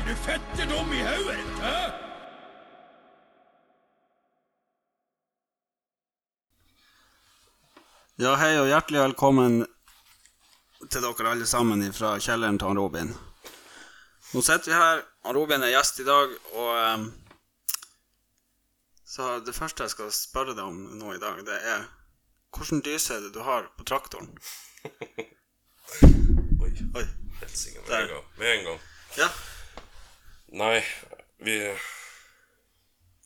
fetterdom i haugen? Hæ? Ja, hei og hjertelig velkommen til dere alle sammen fra kjelleren til han Robin. Nå sitter vi her. Han Robin er gjest i dag, og ehm, Så det første jeg skal spørre deg om nå i dag, det er Hvordan dys er det du har på traktoren? Oi, Oi. helsike med Der. en gang. Med en gang. Ja. Nei, vi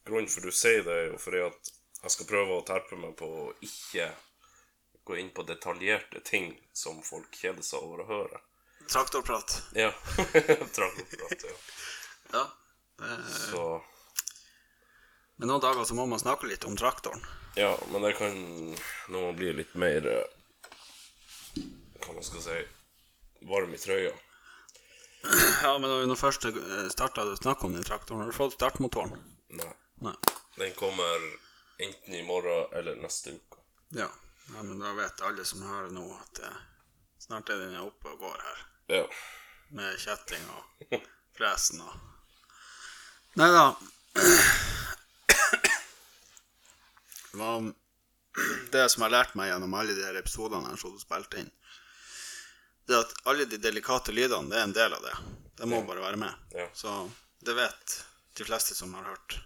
Grunnen for du sier det, er jo fordi at jeg skal prøve å terpe meg på å ikke gå inn på detaljerte ting som folk kjeder seg over å høre. Traktorprat. Ja. Trampeprat, ja. Ja. Eh, Så Men noen dager så må man snakke litt om traktoren. Ja, men det kan nå bli litt mer eh, Hva man skal si varm i trøya. Ja, men når du først starta å snakke om den traktoren, har du fått startmotoren? Nei. Nei. Den kommer enten i morgen eller neste uke. Ja. ja, men da vet alle som hører nå at eh, snart er den oppe og går her. Ja. Med kjetting og fresen og Nei da. Hva om Det som jeg har lært meg gjennom alle de her episodene jeg har spilt inn, det er at alle de delikate lydene, det er en del av det. Det må bare være med. Ja. Så det vet de fleste som har hørt,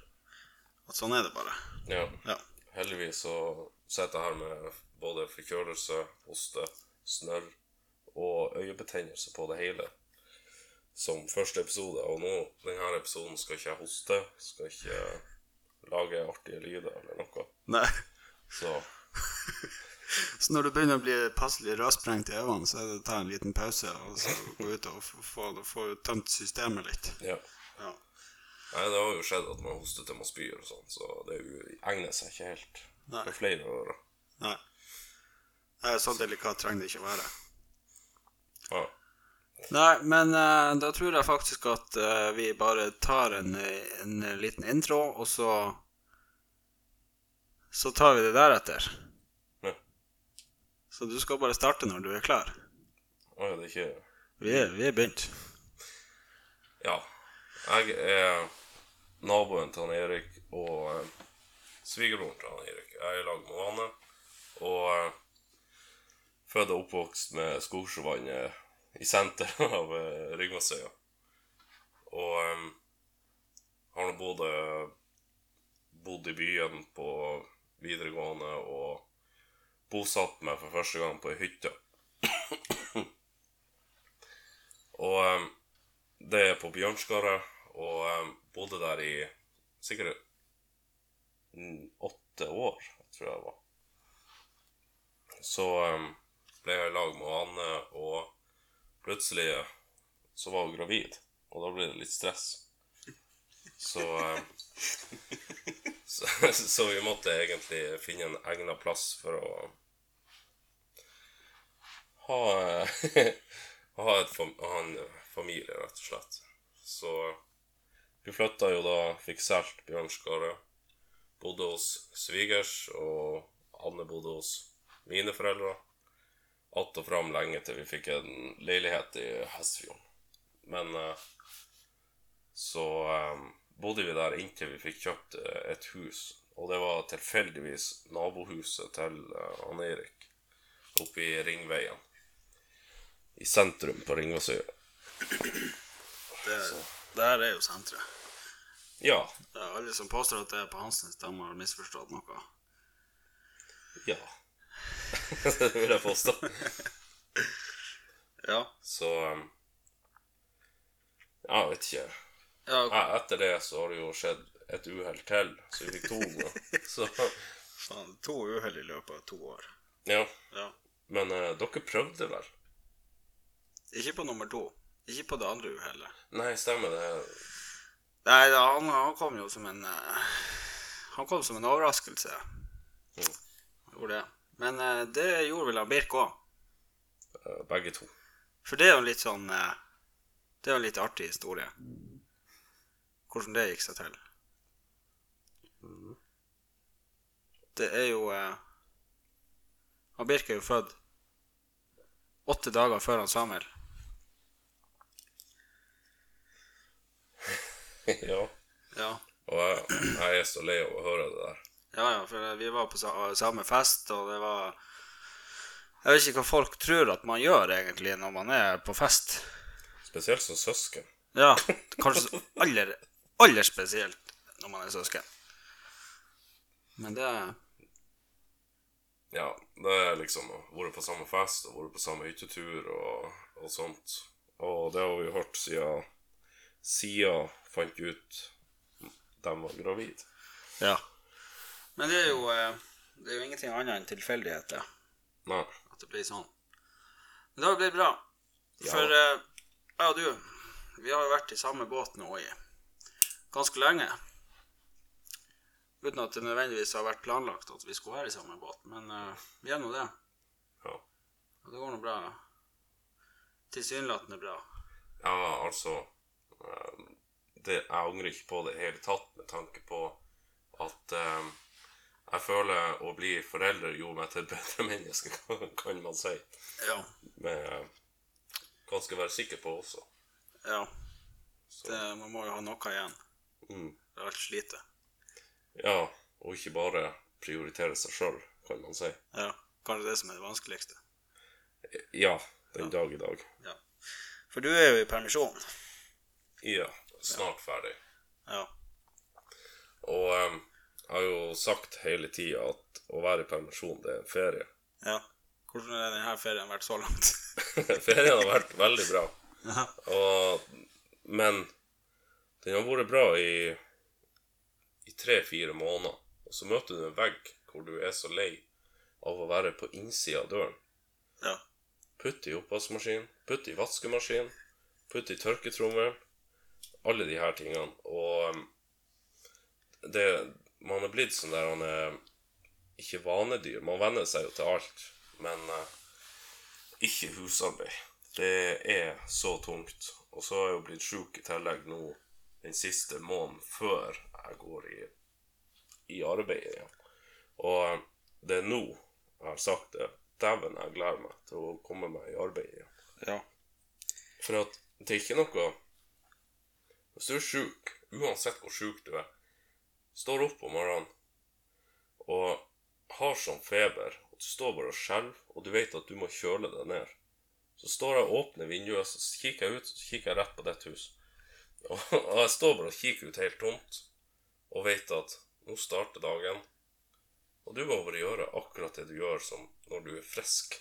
at sånn er det bare. ja. Ja. Heldigvis så sitter jeg her med både forkjølelse, hoste, snørr og øyebetennelse på det hele. Som første episode, og nå, denne episoden skal ikke jeg hoste, skal ikke lage artige lyder eller noe. Nei. Så Så når du begynner å bli passelig rødsprengt i øynene, så er det å ta en liten pause og så gå ut og f- få, få tømt systemet litt. ja. Ja. Nei, det har jo skjedd at man hoster til man spyr og sånn, så det er jo- egner seg ikke helt. Nei. For flere år. Nei. Nei, så delikat trenger det ikke å være. Ja. Nei, men eh, da tror jeg faktisk at eh, vi bare tar en, eh, en liten intro, og så Så tar vi det deretter. Ja. Så du skal bare starte når du er klar. Å ja, det er ikke Vi er, vi er begynt. Ja. Jeg er naboen til han Erik og eh, svigerbroren til han Erik. Jeg er i lag med Hanne. Og eh, født og oppvokst med Skogsvannet i senteret av eh, Ryggmasøya. Og eh, har nå både bodd i byen på videregående og bosatt meg for første gang på ei hytte. og eh, det er på Bjørnskaret, og eh, bodde der i sikkert mm, åtte år, tror jeg det var. Så eh, ble jeg i lag med Anne, og plutselig eh, så var hun gravid, og da ble det litt stress. Så, eh, så, så vi måtte egentlig finne en egnet plass for å ha eh, å ha, et fam ha en eh, familie, rett og slett. Så vi flytta jo da, fikk solgt Bjørnskaret. Bodde hos svigers, og Anne bodde hos mine foreldre. Att og fram lenge til vi fikk en leilighet i Hestfjorden. Men eh, så eh, bodde vi der inntil vi fikk kjøpt eh, et hus. Og det var tilfeldigvis nabohuset til eh, Anne Erik oppe i Ringveien i sentrum på Ringvassøya. Det, det her er jo senteret. Ja. Det er alle som påstår at det er på Hansens, de har misforstått noe. Ja. det vil jeg påstå. Ja. Så um, Ja, jeg vet ikke. ja Nei, etter det så har det jo skjedd et uhell til, så vi fikk to unger. Så Faen, to uhell i løpet av to år. Ja. Ja. Men eh, dere prøvde vel? Ikke på nummer to. Ikke på det andre uhellet. Nei, stemmer det. Nei, da, han, han kom jo som en eh, Han kom som en overraskelse. Mm. Gjorde det. Men eh, det gjorde vel han Birk òg. Eh, Begge to. For det er jo en litt sånn eh, Det er jo en litt artig historie. Hvordan det gikk seg til. Mm. Det er jo eh, han Birk er jo født åtte dager før han Samuel. ja. Ja. Og jeg, jeg er så lei av å høre det der. Ja, ja, for vi var på sa- samme fest, og det var Jeg vet ikke hva folk tror at man gjør, egentlig, når man er på fest. Spesielt som søsken. Ja, kanskje aller, aller spesielt når man er søsken. Men det Ja, det er liksom å vært på samme fest og vært på samme hyttetur og, og sånt. Og det har vi jo hørt siden Sia fant ut de var gravid. Ja. Men det er jo, eh, det er jo ingenting annet enn tilfeldigheter. Nei. At det blir sånn. Men det har jo blitt bra. Ja. For eh, jeg og du, vi har jo vært i samme båt nå i ganske lenge. Uten at det nødvendigvis har vært planlagt at vi skulle være i samme båt, men eh, vi er nå det. Ja. Og det går nå bra. Tilsynelatende bra. ja, altså eh, det, Jeg angrer ikke på det i hele tatt med tanke på at eh, jeg føler å bli forelder gjorde meg til et bedre menneske, kan- kan man si. Ja. Men eh, ganske være sikker på også. ja. Så. Det, man må jo ha noe igjen. Mm. Det er alt slitet. Ja, og ikke bare prioritere seg sjøl, kan man si. Ja. Kanskje det som er det vanskeligste. Ja, den dag i dag. Ja. For du er jo i permisjon. Ja, snart ferdig. Ja. Og em, jeg har jo sagt hele tida at å være i permisjon, det er en ferie. ja. Hvordan har denne ferien vært så langt? Ferien har vært veldig bra. Ja. Og, men den har vært bra i, i tre-fire måneder. Og så møter du en vegg hvor du er så lei av å være på innsida av døren. Ja. Putt i oppvaskmaskinen, putt i vaskemaskinen, putt i tørketrommelen. Alle de her tingene. Og um, det, man er blitt sånn der han er ikke vanedyr. Man venner seg jo til alt, men eh, ikke husarbeid. Det er så tungt. Og så har jeg jo blitt sjuk i tillegg nå den siste måneden før jeg går i, i arbeid igjen. Og det er nå jeg har sagt det. Dæven, jeg gleder meg til å komme meg i arbeid igjen. Ja. For at det er ikke noe Hvis du er sjuk, uansett hvor sjuk du er, står opp om morgenen og har sånn feber, og du står bare og skjelver, og du vet at du må kjøle deg ned Så står jeg og åpner vinduet, så kikker jeg ut, så kikker jeg rett på ditt hus. Og, og jeg står bare og kikker ut helt tomt, og vet at nå starter dagen. Og du må bare gjøre akkurat det du gjør som når du er frisk.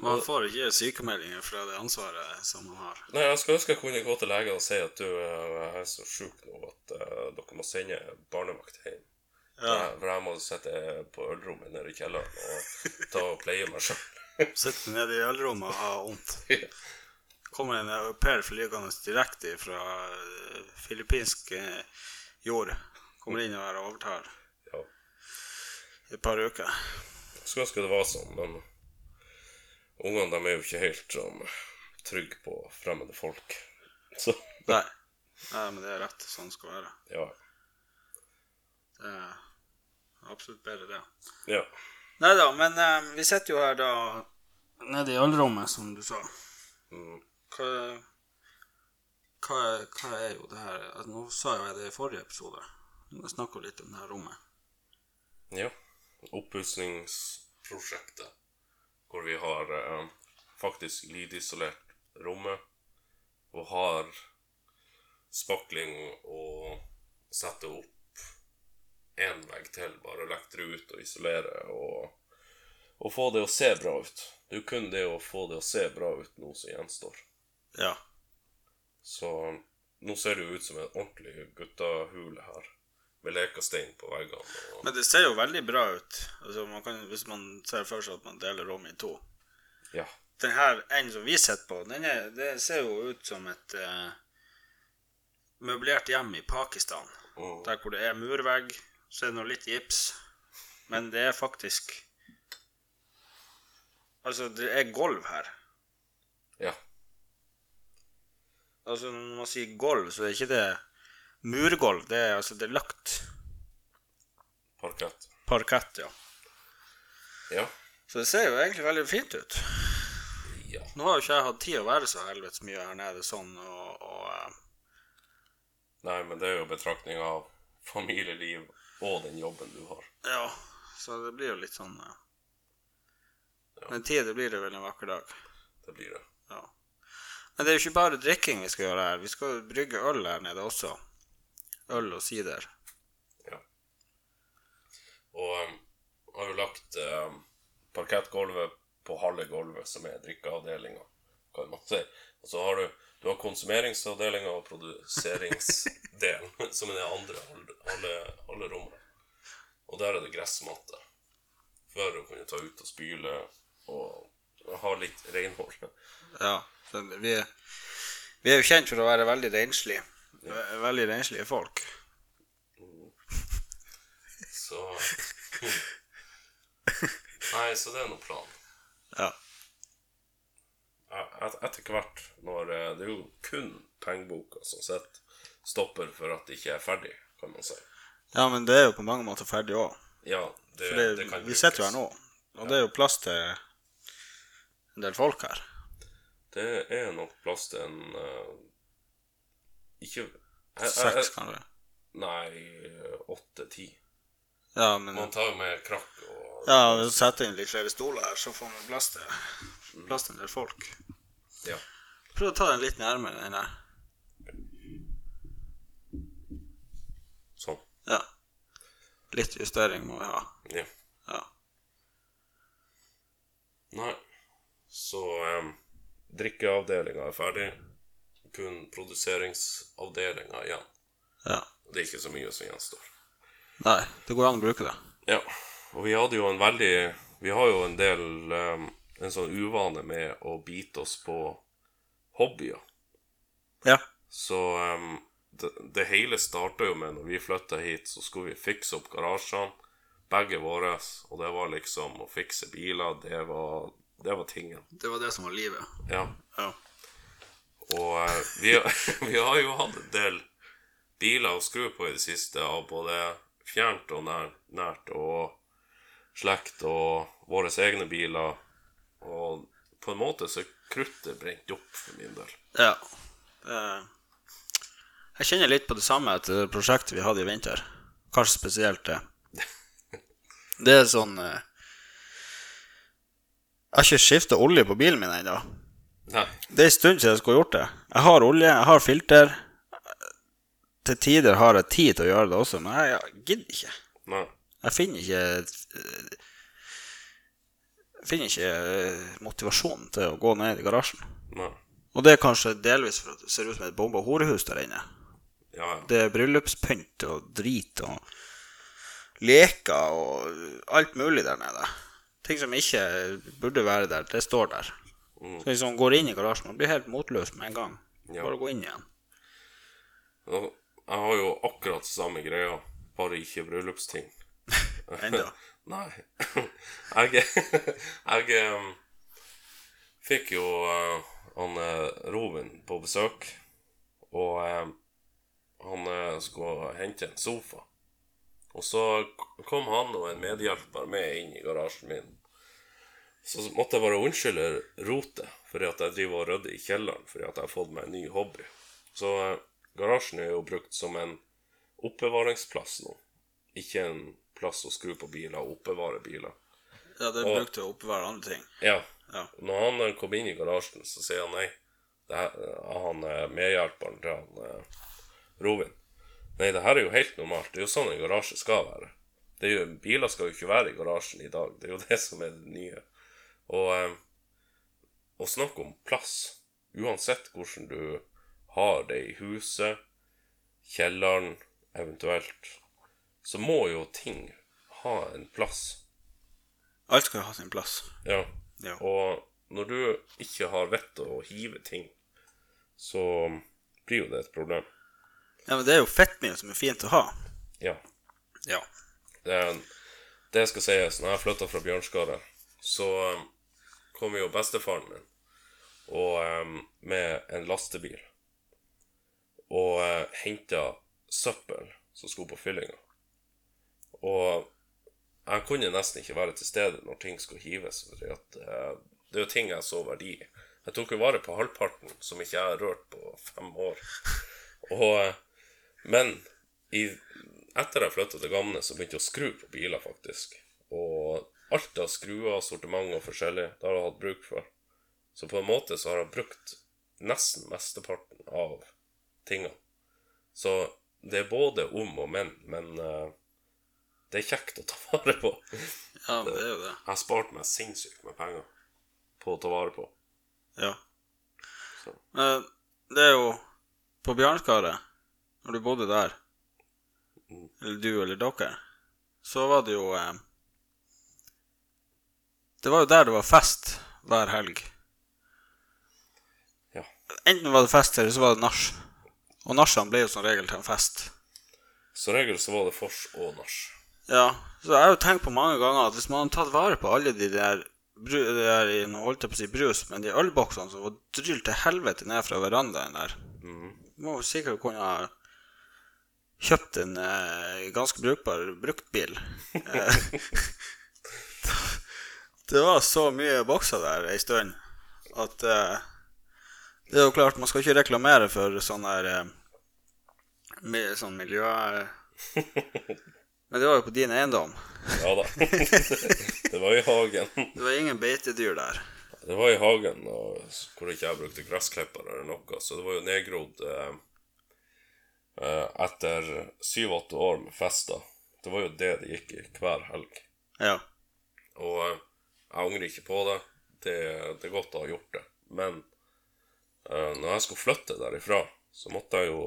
Man får ikke sykemeldinger fra det ansvaret som man har. Nei, jeg skulle ønske jeg kunne gå til legen og si at du eh, jeg er så sjuk nå at eh, dere må sende barnevakt hjem. Jeg- For jeg må sitte på ølrommet nede i kjelleren og ta og pleie meg sjøl. Sitter nede i ølrommet og har vondt. Kommer en au pair flygende direkte fra filippinsk eh, jord. Kommer inn og overtar Ja. i et par uker. Skulle ønske det var sånn, men ungene de er jo ikke helt sånn trygge på fremmede folk. Så Nei. Nei, men det er rett. Sånn skal det være. ja. Det er absolutt bedre, det. ja. Nei da, men eh, vi sitter jo her da nede i ølrommet, som du sa. Mm. Hva, hva, hva er jo det her altså, Nå sa jo jeg det i forrige episode. Jeg snakka litt om det her rommet. Ja. Oppussingsprosjektet. Hvor vi har eh, faktisk lydisolert rommet. Og har spakling og setter opp én vegg til. Bare lekter ut og isolerer og, og få det å se bra ut. Det er jo kun det å få det å se bra ut nå som gjenstår. Ja. Så nå ser det jo ut som en ordentlig guttahule her. Med lekestein på veggene. Og, Men det ser jo veldig bra ut. Altså, man kan, hvis man ser for seg at man deler rommet i to. ja. Den her enden som vi sitter på, den er, det ser jo ut som et eh, møblert hjem i Pakistan. Mm. Der hvor det er murvegg, så er det noe litt gips. Men det er faktisk Altså, det er gulv her. ja. Altså Når man sier gulv, så er ikke det murgulv. Det er altså det er lagt Parkett. parkett, ja. Ja. Så det ser jo egentlig veldig fint ut. Ja. Nå har jo ikke jeg hatt tid å være så helvetes mye her nede sånn og, og eh, Nei, men det er jo betraktning av familieliv og den jobben du har. Ja, så det blir jo litt sånn ja. Men tid blir det vel en vakker dag. Det blir det. Ja. Men det er jo ikke bare drikking vi skal gjøre her. Vi skal jo brygge øl her nede også. Øl og sider. Og um, har jo lagt um, parkettgulvet på halve gulvet, som er drikkeavdelinga, kan man si. Og så har du, du har konsumeringsavdelinga og produseringsdelen, som er det andre halv- halve halve rommet. Og der er det gressmatte. For å kunne ta ut og spyle og ha litt renhold. Ja. Så vi, er- vi er jo kjent for å være veldig renslige. Ve- Veldig renslige folk. Så hm. Nei, så det er noen plan. Ja. et, etter hvert, når eh, det er jo kun pengeboka som sett stopper for at det ikke er ferdig, kan man si. ja, men det er jo på mange måter ferdig òg. Ja, det, For det, det kan vi brukes. sitter jo her nå, og det er jo plass til en del folk her. Det er nok plass til en eh, Ikke jeg- jeg- jeg- Seks, kanskje. Nei, åtte-ti. Ja, men Man tar jo med krakk og ja, vi setter inn litt flere stoler her, så får vi plass til, plass til en del folk. Ja. Prøv å ta den litt nærmere, den der. sånn. Ja. Litt justering må vi ha. Ja. Ja. Nei. Så um, drikkeavdelinga er ferdig. Kun produseringsavdelinga igjen. ja. Det er ikke så mye som gjenstår. Nei, det går an å bruke det. Ja, og vi hadde jo en veldig Vi har jo en del um, En sånn uvane med å bite oss på hobbyer. Ja. Så um, det, det hele starta jo med når vi flytta hit, så skulle vi fikse opp garasjene, begge våre, og det var liksom å fikse biler, det var, det var tingen. Det var det som var livet. Ja. Ja. Og eh, vi, vi har jo hatt en del biler å skru på i det siste, av både fjernt og nær, nært, og slekt og våre egne biler. Og på en måte så er kruttet brent opp for min del. ja. Eh, Jeg kjenner litt på det samme etter det prosjektet vi hadde i vinter. Kanskje spesielt det. Det er sånn eh, Jeg har ikke skifta olje på bilen min ennå. Nei. Det er en stund siden jeg skulle ha gjort det. Jeg har olje, jeg har filter. Til tider har jeg tid til å gjøre det også, men jeg jeg gidder ikke. Nei. Jeg finner ikke eh, Jeg finner ikke eh, motivasjonen til å gå ned i garasjen. Nei. Og det er kanskje delvis for at det ser ut som et bomba horehus der inne. Ja, ja. Det er bryllupspynt og drit og leker og alt mulig der nede. Ting som ikke burde være der, det står der. Så hvis man går inn i garasjen, man blir helt motløs med en gang. Mm. Ja. Bare gå inn igjen. Og Jeg har jo akkurat samme greia, bare ikke bryllupsting. Enda. Nei. Jeg, jeg em, fikk jo eh, han eh, Robin på besøk, og em, han eh, skulle hente en sofa. Og så k- kom han og en medhjelper med inn i garasjen min. Så måtte jeg bare unnskylde rotet, fordi at jeg driver og rydder i kjelleren fordi at jeg har fått meg en ny hobby. Så eh, garasjen er jo brukt som en oppbevaringsplass nå ikke en plass å skru på biler og oppbevare biler. Ja, det Og- brukte å oppbevare andre ting. Ja. Ja. Når han eh, kom inn i garasjen, så sier han nei. Det her, eh, han eh, medhjelperen til han eh, Rovin. Nei, det her er jo helt normalt. Det er jo sånn en garasje skal være. Det er jo, biler skal jo ikke være i garasjen i dag. Det er jo det som er det nye. Og eh, å snakke om plass, uansett hvordan du har det i huset, kjelleren eventuelt, så må jo ting ha en plass. Alt skal jo ha sin plass. Ja. Ja. Og når du ikke har vett til å hive ting, så blir jo det et problem. Ja, men det er jo fettmye som er fint å ha. Ja. Ja. Det, er en, Ehm, det skal sies, når jeg flytta fra Bjørnskaret, så um, kom jo bestefaren min og, um, med en lastebil og uh, henta søppel som skulle på fyllinga. Og jeg kunne nesten ikke være til stede når ting skulle hives, fordi at eh, det er jo ting jeg så verdi i. Jeg tok jo vare på halvparten som ikke jeg har rørt på fem år. Og eh, Men i, etter jeg flytta til Gamne, så begynte jeg å skru på biler, faktisk. Og alt av skruer, sortiment og forskjellig, det har jeg hatt bruk for. Så på en måte så har jeg brukt nesten mesteparten av tingene. Så det er både om og men, men eh, det er kjekt å ta vare på. Jeg Ja, det er jo det. har spart meg sinnssykt med penger på å ta vare på. Ja. Så. Eh, Det er jo på Bjørnskaret, når du bodde der, Mm. eller du eller dere, så var det jo eh, Det var jo der det var fest hver helg. Ja. Enten var det fest, eller så var det nach. Og nachene ble jo som regel til en fest. Som regel så var det fors og nach. Ja, så jeg har jo tenkt på mange ganger at hvis man hadde tatt vare på alle de der, bru, de der nå holdt jeg på å si brus, men de ølboksene som var drylt til helvete ned fra verandaen der, må jo sikkert kunne ha kjøpt en eh, ganske brukbar bruktbil. Eh, det var så mye bokser der ei stund at eh, Det er jo klart, man skal ikke reklamere for sånn der eh, mi- sånn miljø... Men det var jo på din eiendom. Ja da. det var i hagen. Det var ingen beitedyr der. Det var i hagen og, hvor ikke jeg brukte gressklipper eller noe, så det var jo nedgrodd eh, eh, etter syv-åtte år med fester. Det var jo det det gikk i hver helg. Ja. Og eh, jeg angrer ikke på det. Det, det er godt å ha gjort det. Men eh, når jeg skulle flytte derifra, så måtte jeg jo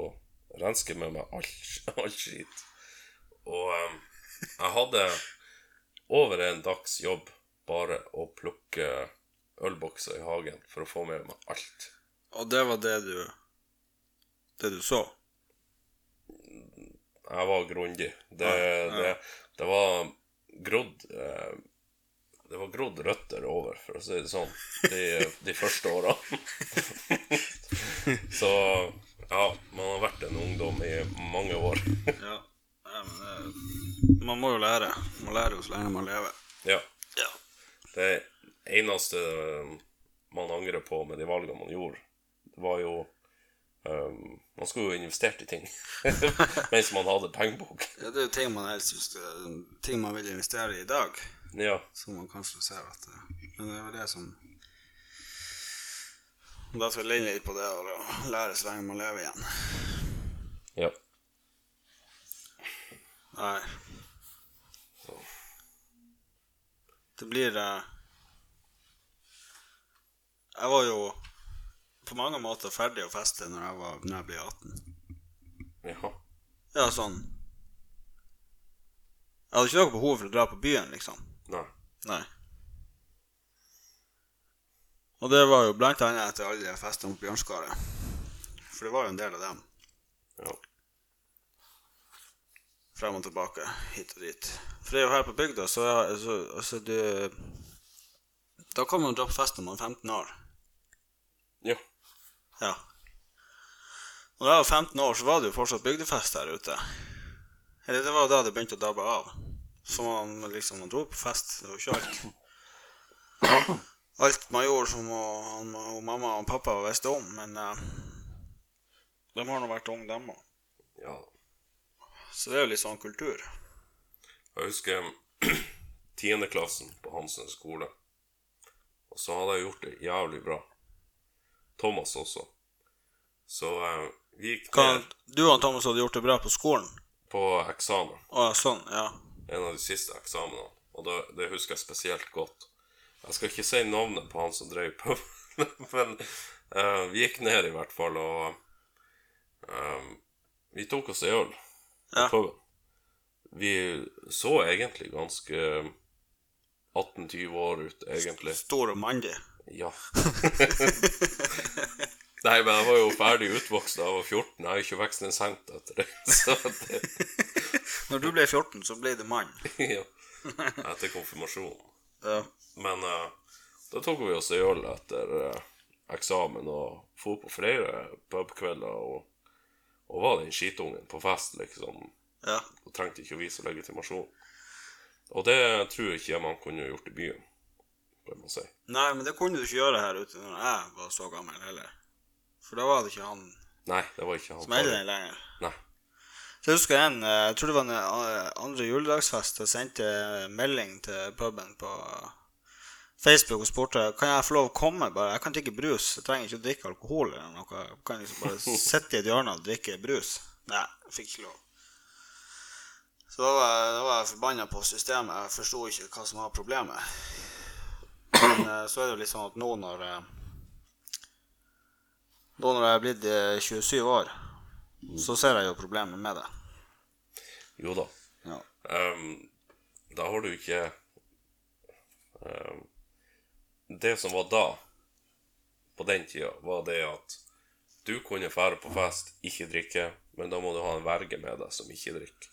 renske med meg all, all skit. Og eh, jeg hadde over en dags jobb bare å plukke ølbokser i hagen for å få med meg alt. Og det var det du Det du så? Jeg var grundig. Det, det, det var grodd eh, Det var grodd røtter over, for å si det sånn, de, de første åra. Så ja, man har vært en ungdom i mange år. Ja. Nei, men det, man må jo lære. Man lærer jo så lenge man lever. Ja. Ja. Det eneste eh, man angrer på med de valgene man gjorde, det var jo eh, Man skulle jo investert i ting mens man hadde pengebok. Det er jo ting man helst husker, ting man vil investere i i dag, Ja. som man kanskje ser at det, Men det er jo det som Da skal jeg legge litt på det og lære så lenge man lever igjen. ja. Nei. Så. Det blir eh, Jeg var jo på mange måter ferdig å feste når jeg, var, når jeg ble 18. ja. Ja, sånn Jeg hadde ikke noe behov for å dra på byen, liksom. Nei. Nei. Og det var jo blant annet etter alle de festene på Bjørnskaret. For det var jo en del av dem. Ja. frem og tilbake, hit og dit. For det er jo her på bygda, så, så altså, du Da kan man dra på fest når man er 15 år. ja. Ja. Når jeg var 15 år, så var det jo fortsatt bygdefest her ute. Eller det var jo da det begynte å dabbe av. Så man liksom man dro på fest. Det var jo ikke alt. Alt man gjorde som og, han- og mamma og pappa visste om, men eh, de har nå vært unge, dem òg. Ja. Så det er jo litt sånn kultur. Jeg husker tiendeklassen på Hansen skole. Og så hadde jeg gjort det jævlig bra. Thomas også. Så eh, vi gikk Hva, ned du og Thomas hadde gjort det bra på skolen? på eksamen. Å, sånn, ja. En av de siste eksamenene. Og det, det husker jeg spesielt godt. Jeg skal ikke si navnet på han som drev på, men eh, vi gikk ned i hvert fall, og eh, vi tok oss en øl. Ja. på puben. Vi så egentlig ganske 18-20 år ut, egentlig. Stor og mandig. Ja. Nei, men jeg var jo ferdig utvokst da jeg var 14. Jeg har jo ikke vokst en cent etter det. Så det Når du ble 14, så ble du mann. ja. Etter konfirmasjonen. Ja. Men eh, da tok vi oss en øl etter eh, eksamen og for på flere pubkvelder og, og var den skitungen på fest, liksom. ja. og trengte ikke å vise legitimasjon. Og det tror jeg ikke man kunne gjort i byen, bør man si. Nei, men det kunne du ikke gjøre her ute når jeg var så gammel heller. For da var det ikke han Nei, det var ikke han. som eldre lenger. Nei. Så jeg husker en, eh, jeg tror det var en eh, andre juledagsfest, jeg sendte melding til puben på Facebook og spurte kan jeg få lov å komme. bare, Jeg kan drikke brus, jeg trenger ikke å drikke alkohol eller noe. Jeg kan liksom bare sitte i et hjørne og drikke brus. Nei, jeg fikk ikke lov. Så da var jeg, da var jeg forbanna på systemet. Jeg forsto ikke hva som var problemet. Men eh, så er det jo litt sånn at nå når eh, Nå når jeg er blitt eh, 27 år, så ser jeg jo problemet med det. Jo da. Ja. Ehm, da har du ikke ehm, Det som var da, på den tida, var det at du kunne fære på fest, ikke drikke, men da må du ha en verge med deg som ikke drikker.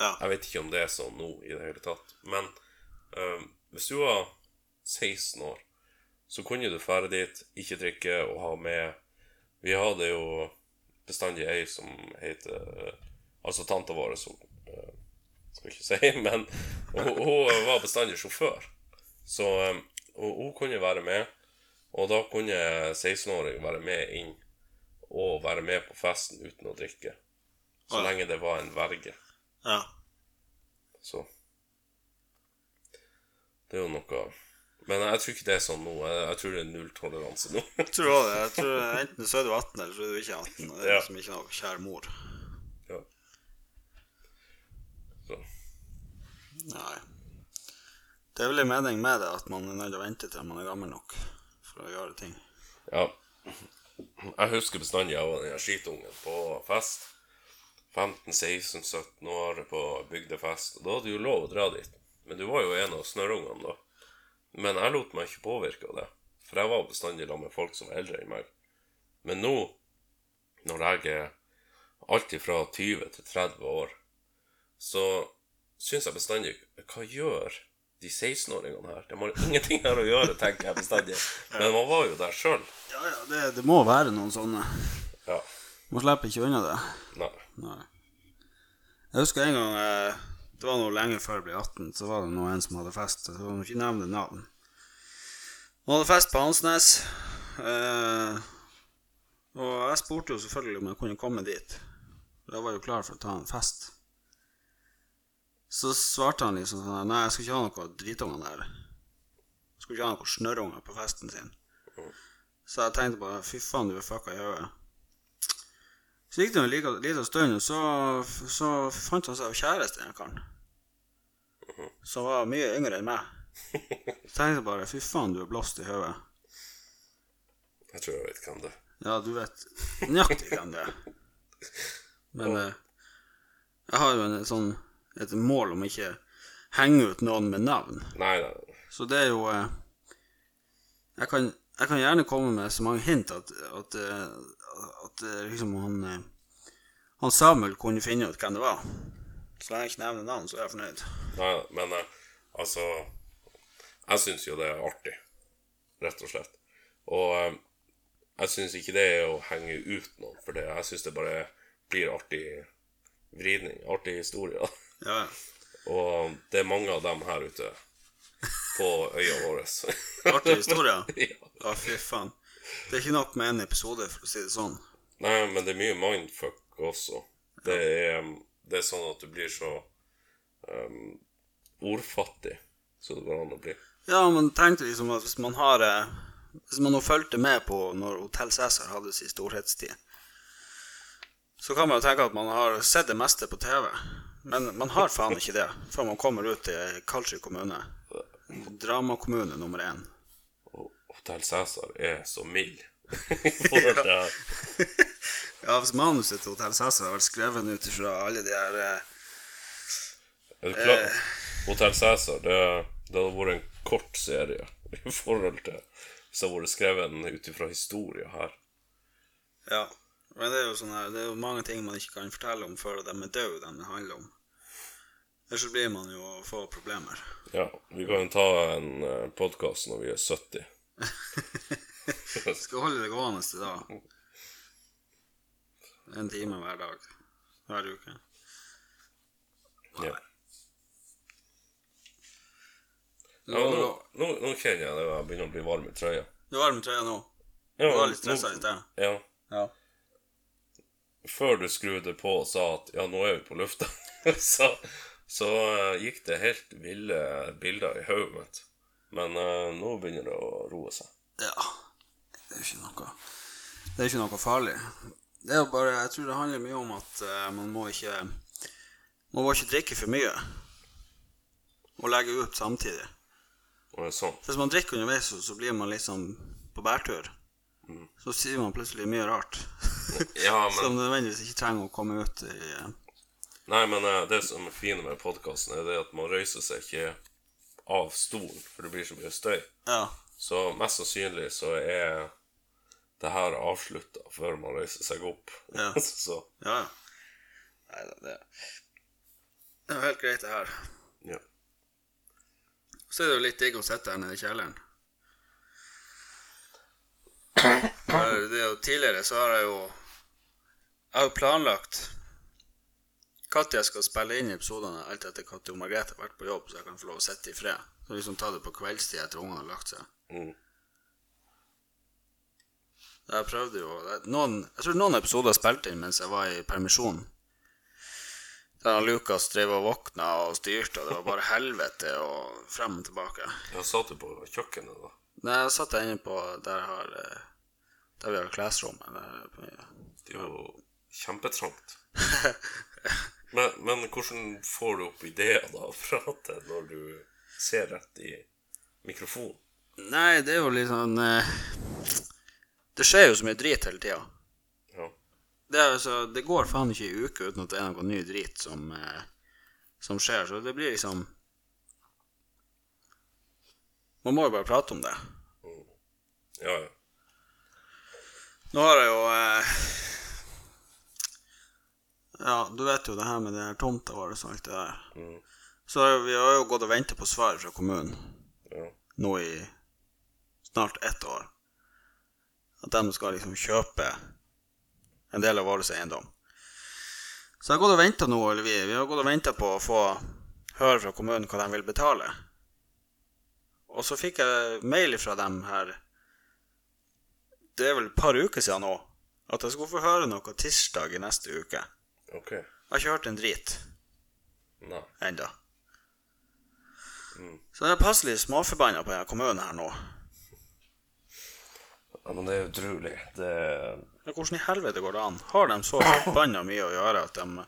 Ja. Jeg vet ikke om det er sånn nå i det hele tatt. Men ehm, hvis du var 16 år, så kunne du fære dit, ikke drikke og ha med Vi hadde jo bestandig ei som heter eh, Altså tanta vår som eh, Skal ikke si, men hun, hun var bestandig sjåfør. Så ehm, hun, hun kunne være med, og da kunne 16-åringer være med inn og være med på festen uten å drikke. Så Ja. lenge det var en verge. ja. Så Det er jo noe Men jeg tror ikke det er sånn nå. Jeg, jeg tror det er nulltoleranse nå. Jeg tror også det. Jeg tror Enten så er du 18, eller så er du ikke 18. Og det er Ja. liksom ikke noe kjær mor. ja. Så Nei. Det er vel en mening med det, at man er nødt til å vente til man er gammel nok for å gjøre ting. Ja. Jeg husker bestandig jeg var den her skitungen på fest. 15-16-17 år på bygdefest. Og da hadde du jo lov å dra dit. Men du var jo en av snørrungene da. Men jeg lot meg ikke påvirke av det. For jeg var bestandig sammen med folk som var eldre enn meg. Men nå, når jeg er alt ifra 20 til 30 år, så syns jeg bestandig Hva gjør de 16-åringene her? De har ingenting her å gjøre, tenker jeg bestandig. Men man var jo der sjøl. Ja, ja, det, det må være noen sånne. Ja. Man slipper ikke unna det. Nei. Nei. Jeg husker en gang eh, Det var noe lenge før jeg ble 18, så var det noe en som hadde fest. Jeg skal ikke nevne navn. Han hadde fest på Hansnes. Eh, og jeg spurte jo selvfølgelig om jeg kunne komme dit. Jeg var jo klar for å ta en fest. Så svarte han liksom sånn her, Nei, jeg skal ikke ha noe dritunger der. Jeg skal ikke ha noe snørrunger på festen sin. Så jeg tenkte bare Fy faen, du er fucka i hodet. Så gikk det en liten, liten stund, og så, så fant han seg jo kjæreste, den karen. Som var mye yngre enn meg. Så tenkte jeg bare fy faen, du er blåst i hodet. Jeg tror jeg vet hvem det er. Ja, du vet nøyaktig hvem det er. Men eh, jeg har jo en, sånn, et mål om ikke henge ut noen med navn. Nei, nei, nei. Så det er jo eh, jeg, kan, jeg kan gjerne komme med så mange hint at, at, eh, at eh, liksom han eh, Han Samuel kunne finne ut hvem det var. Så lenge jeg ikke nevner navn, så er jeg fornøyd. nei nei. men eh, altså Jeg syns jo det er artig, rett og slett. Og eh, jeg syns ikke det er å henge ut noen for det. Jeg syns det bare blir artig vridning, artig historie. da. Ja, Og eh, det er mange av dem her ute på øya vår. ja. Artig historie. ja. Ja, fy faen. Det er ikke nok med én episode, for å si det sånn. Nei, men det er mye mindfuck også. Det er, det er sånn at du blir så ehm, ordfattig som det går an å bli. Ja, men tenk deg liksom at hvis man har eh, Hvis man nå fulgte med på når Hotell Cæsar hadde sin storhetstid, så kan man jo tenke at man har sett det meste på TV. Men man har faen ikke det før man kommer ut til Kalsjø kommune. Dramakommune nummer én. Og Hotel Cæsar er så mild. For at jeg- Ja, hvis manuset til Hotell Cæsar har vært skrevet ut ifra alle de her eh, Er du klar? Hotel Cæsar, det, det hadde vært en kort serie i forhold til hvis det hadde vært skrevet ut ifra historia her. Ja. Men det er jo sånn her Det er jo mange ting man ikke kan fortelle om før de er døde, de det handler om. Ellers så blir man jo å få problemer. Ja, vi kan jo ta en podkast når vi er 70. Skal holde det gående til da. En time hver dag. Hver uke. Ja. Nå, Ja, nå, nå, nå, nå kjenner jeg det, jeg begynner å bli varm i trøya. du er med trøya nå. Ja, Du var litt stressa i nå- sted. Ja. Ja. før du skrudde på og sa at ja, nå er vi på lufta, så, så eh, gikk det helt ville bilder i hodet mitt. Men eh, nå begynner det å roe seg. Ja. Det er jo ikke noe Det er jo ikke noe farlig. Det er jo bare Jeg tror det handler mye om at eh, man må ikke Man må ikke drikke for mye. Og legge ut samtidig. Og det er sånn. Hvis man drikker underveis, så, så blir man liksom på bærtur. Så sier man plutselig mye rart Mm. Ja, men, som nødvendigvis ikke trenger å komme ut i eh, nei, men eh, det som er fint med podkasten, er det at man røyser seg ikke av stolen, for det blir så mye støy. Ja. Så mest sannsynlig så er det her avslutta før man reiser seg opp. Ja. så Ja, ja. Nei da, det Det er jo helt greit, det her. ja. Så er det jo litt digg å sitte her nede i kjelleren. For Det er jo tidligere så har jeg jo Jeg har jo planlagt når jeg skal spille inn episodene, alt etter når hun Margrethe har vært på jobb, så jeg kan få lov å sitte i fred. Så liksom ta det på kveldstid etter ungene har lagt seg. Mm. Jeg prøvde jo det- noen, Jeg tror noen episoder jeg spilte inn mens jeg var i permisjon. Der han Lukas drev og våkna og styrte, og det var bare helvete og frem og tilbake. Jeg satt jo på kjøkkenet, da. Nei, jeg satt jeg inne på der, jeg har, eh, der vi har klesrommet. Der, Det er jo kjempetrangt. Men, men hvordan får du opp ideer da fra det når du ser rett i mikrofonen? nei, det er jo litt sånn eh, Det skjer jo så mye drit hele tida. Ja. Det, er altså, det går faen ikke ei uke uten at det er noe ny drit som, eh, som skjer, så det blir liksom Man må jo bare prate om det. ja, ja. Nå har jeg jo eh, Ja, du vet jo det her med den her tomta vår og alt det der. Mm. Så har jo- vi har jo gått og venta på svar fra kommunen. ja. nå i snart ett år. At de skal liksom kjøpe en del av vår eiendom. Så jeg har gått og venta nå, eller vi, vi har gått og venta på å få høre fra kommunen hva de vil betale. Og så fikk jeg mail fra dem her Det er vel et par uker siden nå at jeg skulle få høre noe tirsdag i neste uke. Jeg Ok. har ikke hørt en drit Nei. enda. Mm. Så jeg er passelig småforbanna på denne kommunen her nå. Ja, men det er utrolig. Det Men hvordan i helvete går det an? Har de så forbanna mye å gjøre at de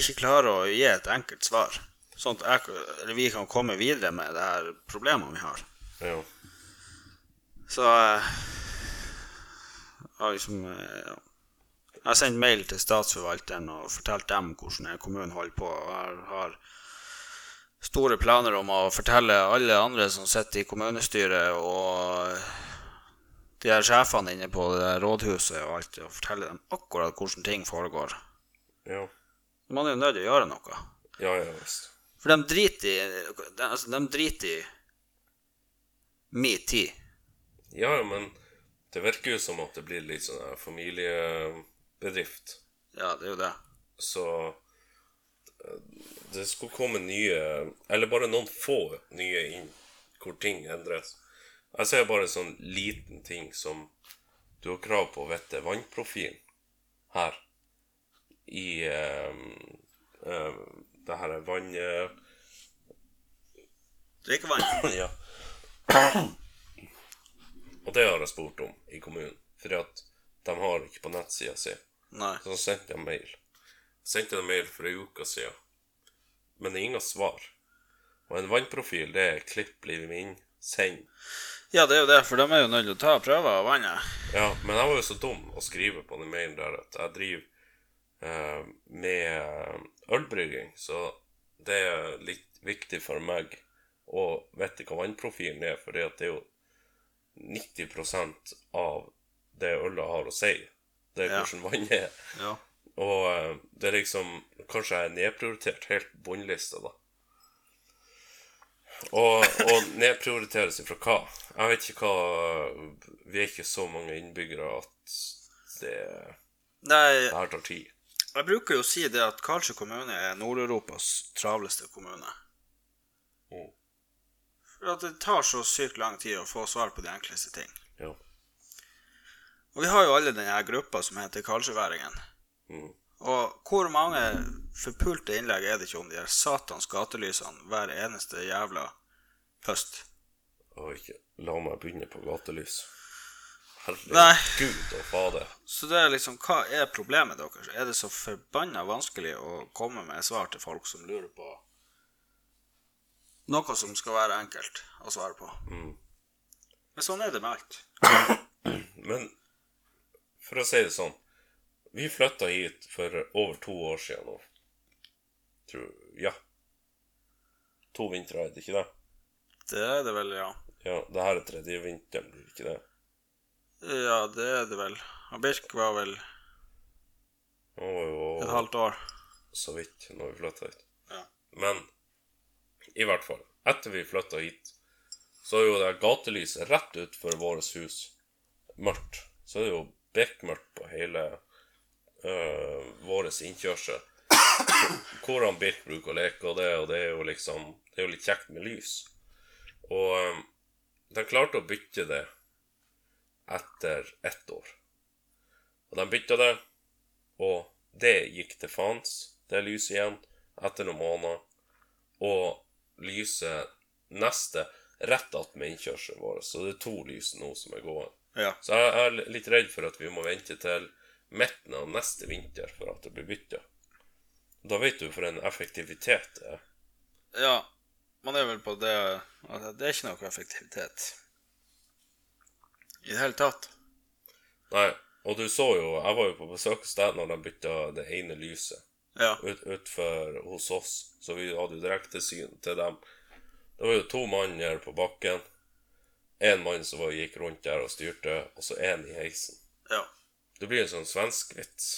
ikke klarer å gi et enkelt svar? Sånn at jeg, eller vi kan komme videre med det her problemet vi har. Ja. Så eh, jeg har liksom eh, ja. Jeg har sendt mail til statsforvalteren og fortalt dem hvordan denne kommunen holder på. og Jeg har store planer om å fortelle alle andre som sitter i kommunestyret og eh, de her sjefene inne på det der rådhuset og alt, og fortelle dem akkurat hvordan ting foregår. Ja, Man er jo nødt til å gjøre noe. ja, ja visst. For de driter i de, altså, de driter i min tid. Ja, ja, men det virker jo som at det blir litt sånn her familiebedrift. Ja, det er jo det. Så eh, det skulle komme nye Eller bare noen få nye inn, hvor ting endres. Jeg ser bare en sånn liten ting som du har krav på å vite vannprofilen her i eh, eh, det her er vann... eh, Drikkevann. ja. Og det har jeg spurt om i kommunen, fordi at de har ikke på nettsida si. Nei. Så sendte jeg mail. Jeg sendte en mail for ei uke siden, men det er ingen svar. Og en vannprofil, det er klipp livet min, send. Ja, det er jo det, for de er jo nødt til å ta prøver av vannet. Ja, men jeg var jo så dum å skrive på den mailen der at jeg driver eh, med ølbrygging, så det er litt viktig for meg å vite hva vannprofilen er, for det er jo 90 av det ølet har å si. Det er Ja. hvordan vannet er. Ja. Og eh, det er liksom Kanskje jeg er nedprioritert helt på bunnlista, da. Og, og nedprioriteres ifra hva? Jeg vet ikke hva Vi er ikke så mange innbyggere at det, Nei, det her tar tid. jeg bruker jo å si det at Karlsjø kommune er Nord-Europas travleste kommune. Mm. For at det tar så sykt lang tid å få svar på de enkleste ting. Ja. Og vi har jo alle denne her gruppa som heter Karlsøyværingen. Mm. Og hvor mange forpulte innlegg er det ikke om de her satans gatelysene hver eneste jævla høst? Og ikke la meg begynne på gatelys. Nei. Herregud og fader. Så det er liksom, hva er problemet deres? Er det så forbanna vanskelig å komme med svar til folk som lurer på noe som skal være enkelt å svare på? Mm. Men sånn er det med alt. Men for å si det sånn Vi flytta hit for over to år siden nå. Tror Ja. To vintre, er det ikke det? Det er det vel, ja. Ja, det her er tredje vinteren, blir det ikke det? Ja, det er det vel. Og Birk var vel Nå var jo et halvt år. så vidt når vi flytta hit. Ja. Men i hvert fall, etter vi flytta hit, så er jo det gatelyset rett utenfor vårt hus mørkt. Så er det jo bekmørkt på hele øh, vår innkjørsel. Hvor han Birk bruker å leke og det, og det er jo liksom Det er jo litt kjekt med lys. Og øh, de klarte å bytte det etter ett år. Og de bytta det, og det gikk til faens, det lyset igjen, etter noen måneder. Og lyset neste rett attmed innkjørselen vår, så det er to lys nå som er gående. Ja. Så jeg jeg er litt redd for at vi må vente til midten av neste vinter for at det blir bytta. Da vet du for en effektivitet det er. ja. Man er vel på det at det er ikke noe effektivitet. I det hele tatt. Nei, og du så jo, jeg var jo på besøk hos deg når de bytta det ene lyset. Ja. ut, utfor hos oss, så vi hadde jo direktesyn til dem. Det var jo to mann her på bakken. En mann som var, gikk rundt der og styrte, og så en i heisen. Ja. Det blir en sånn svensk vits.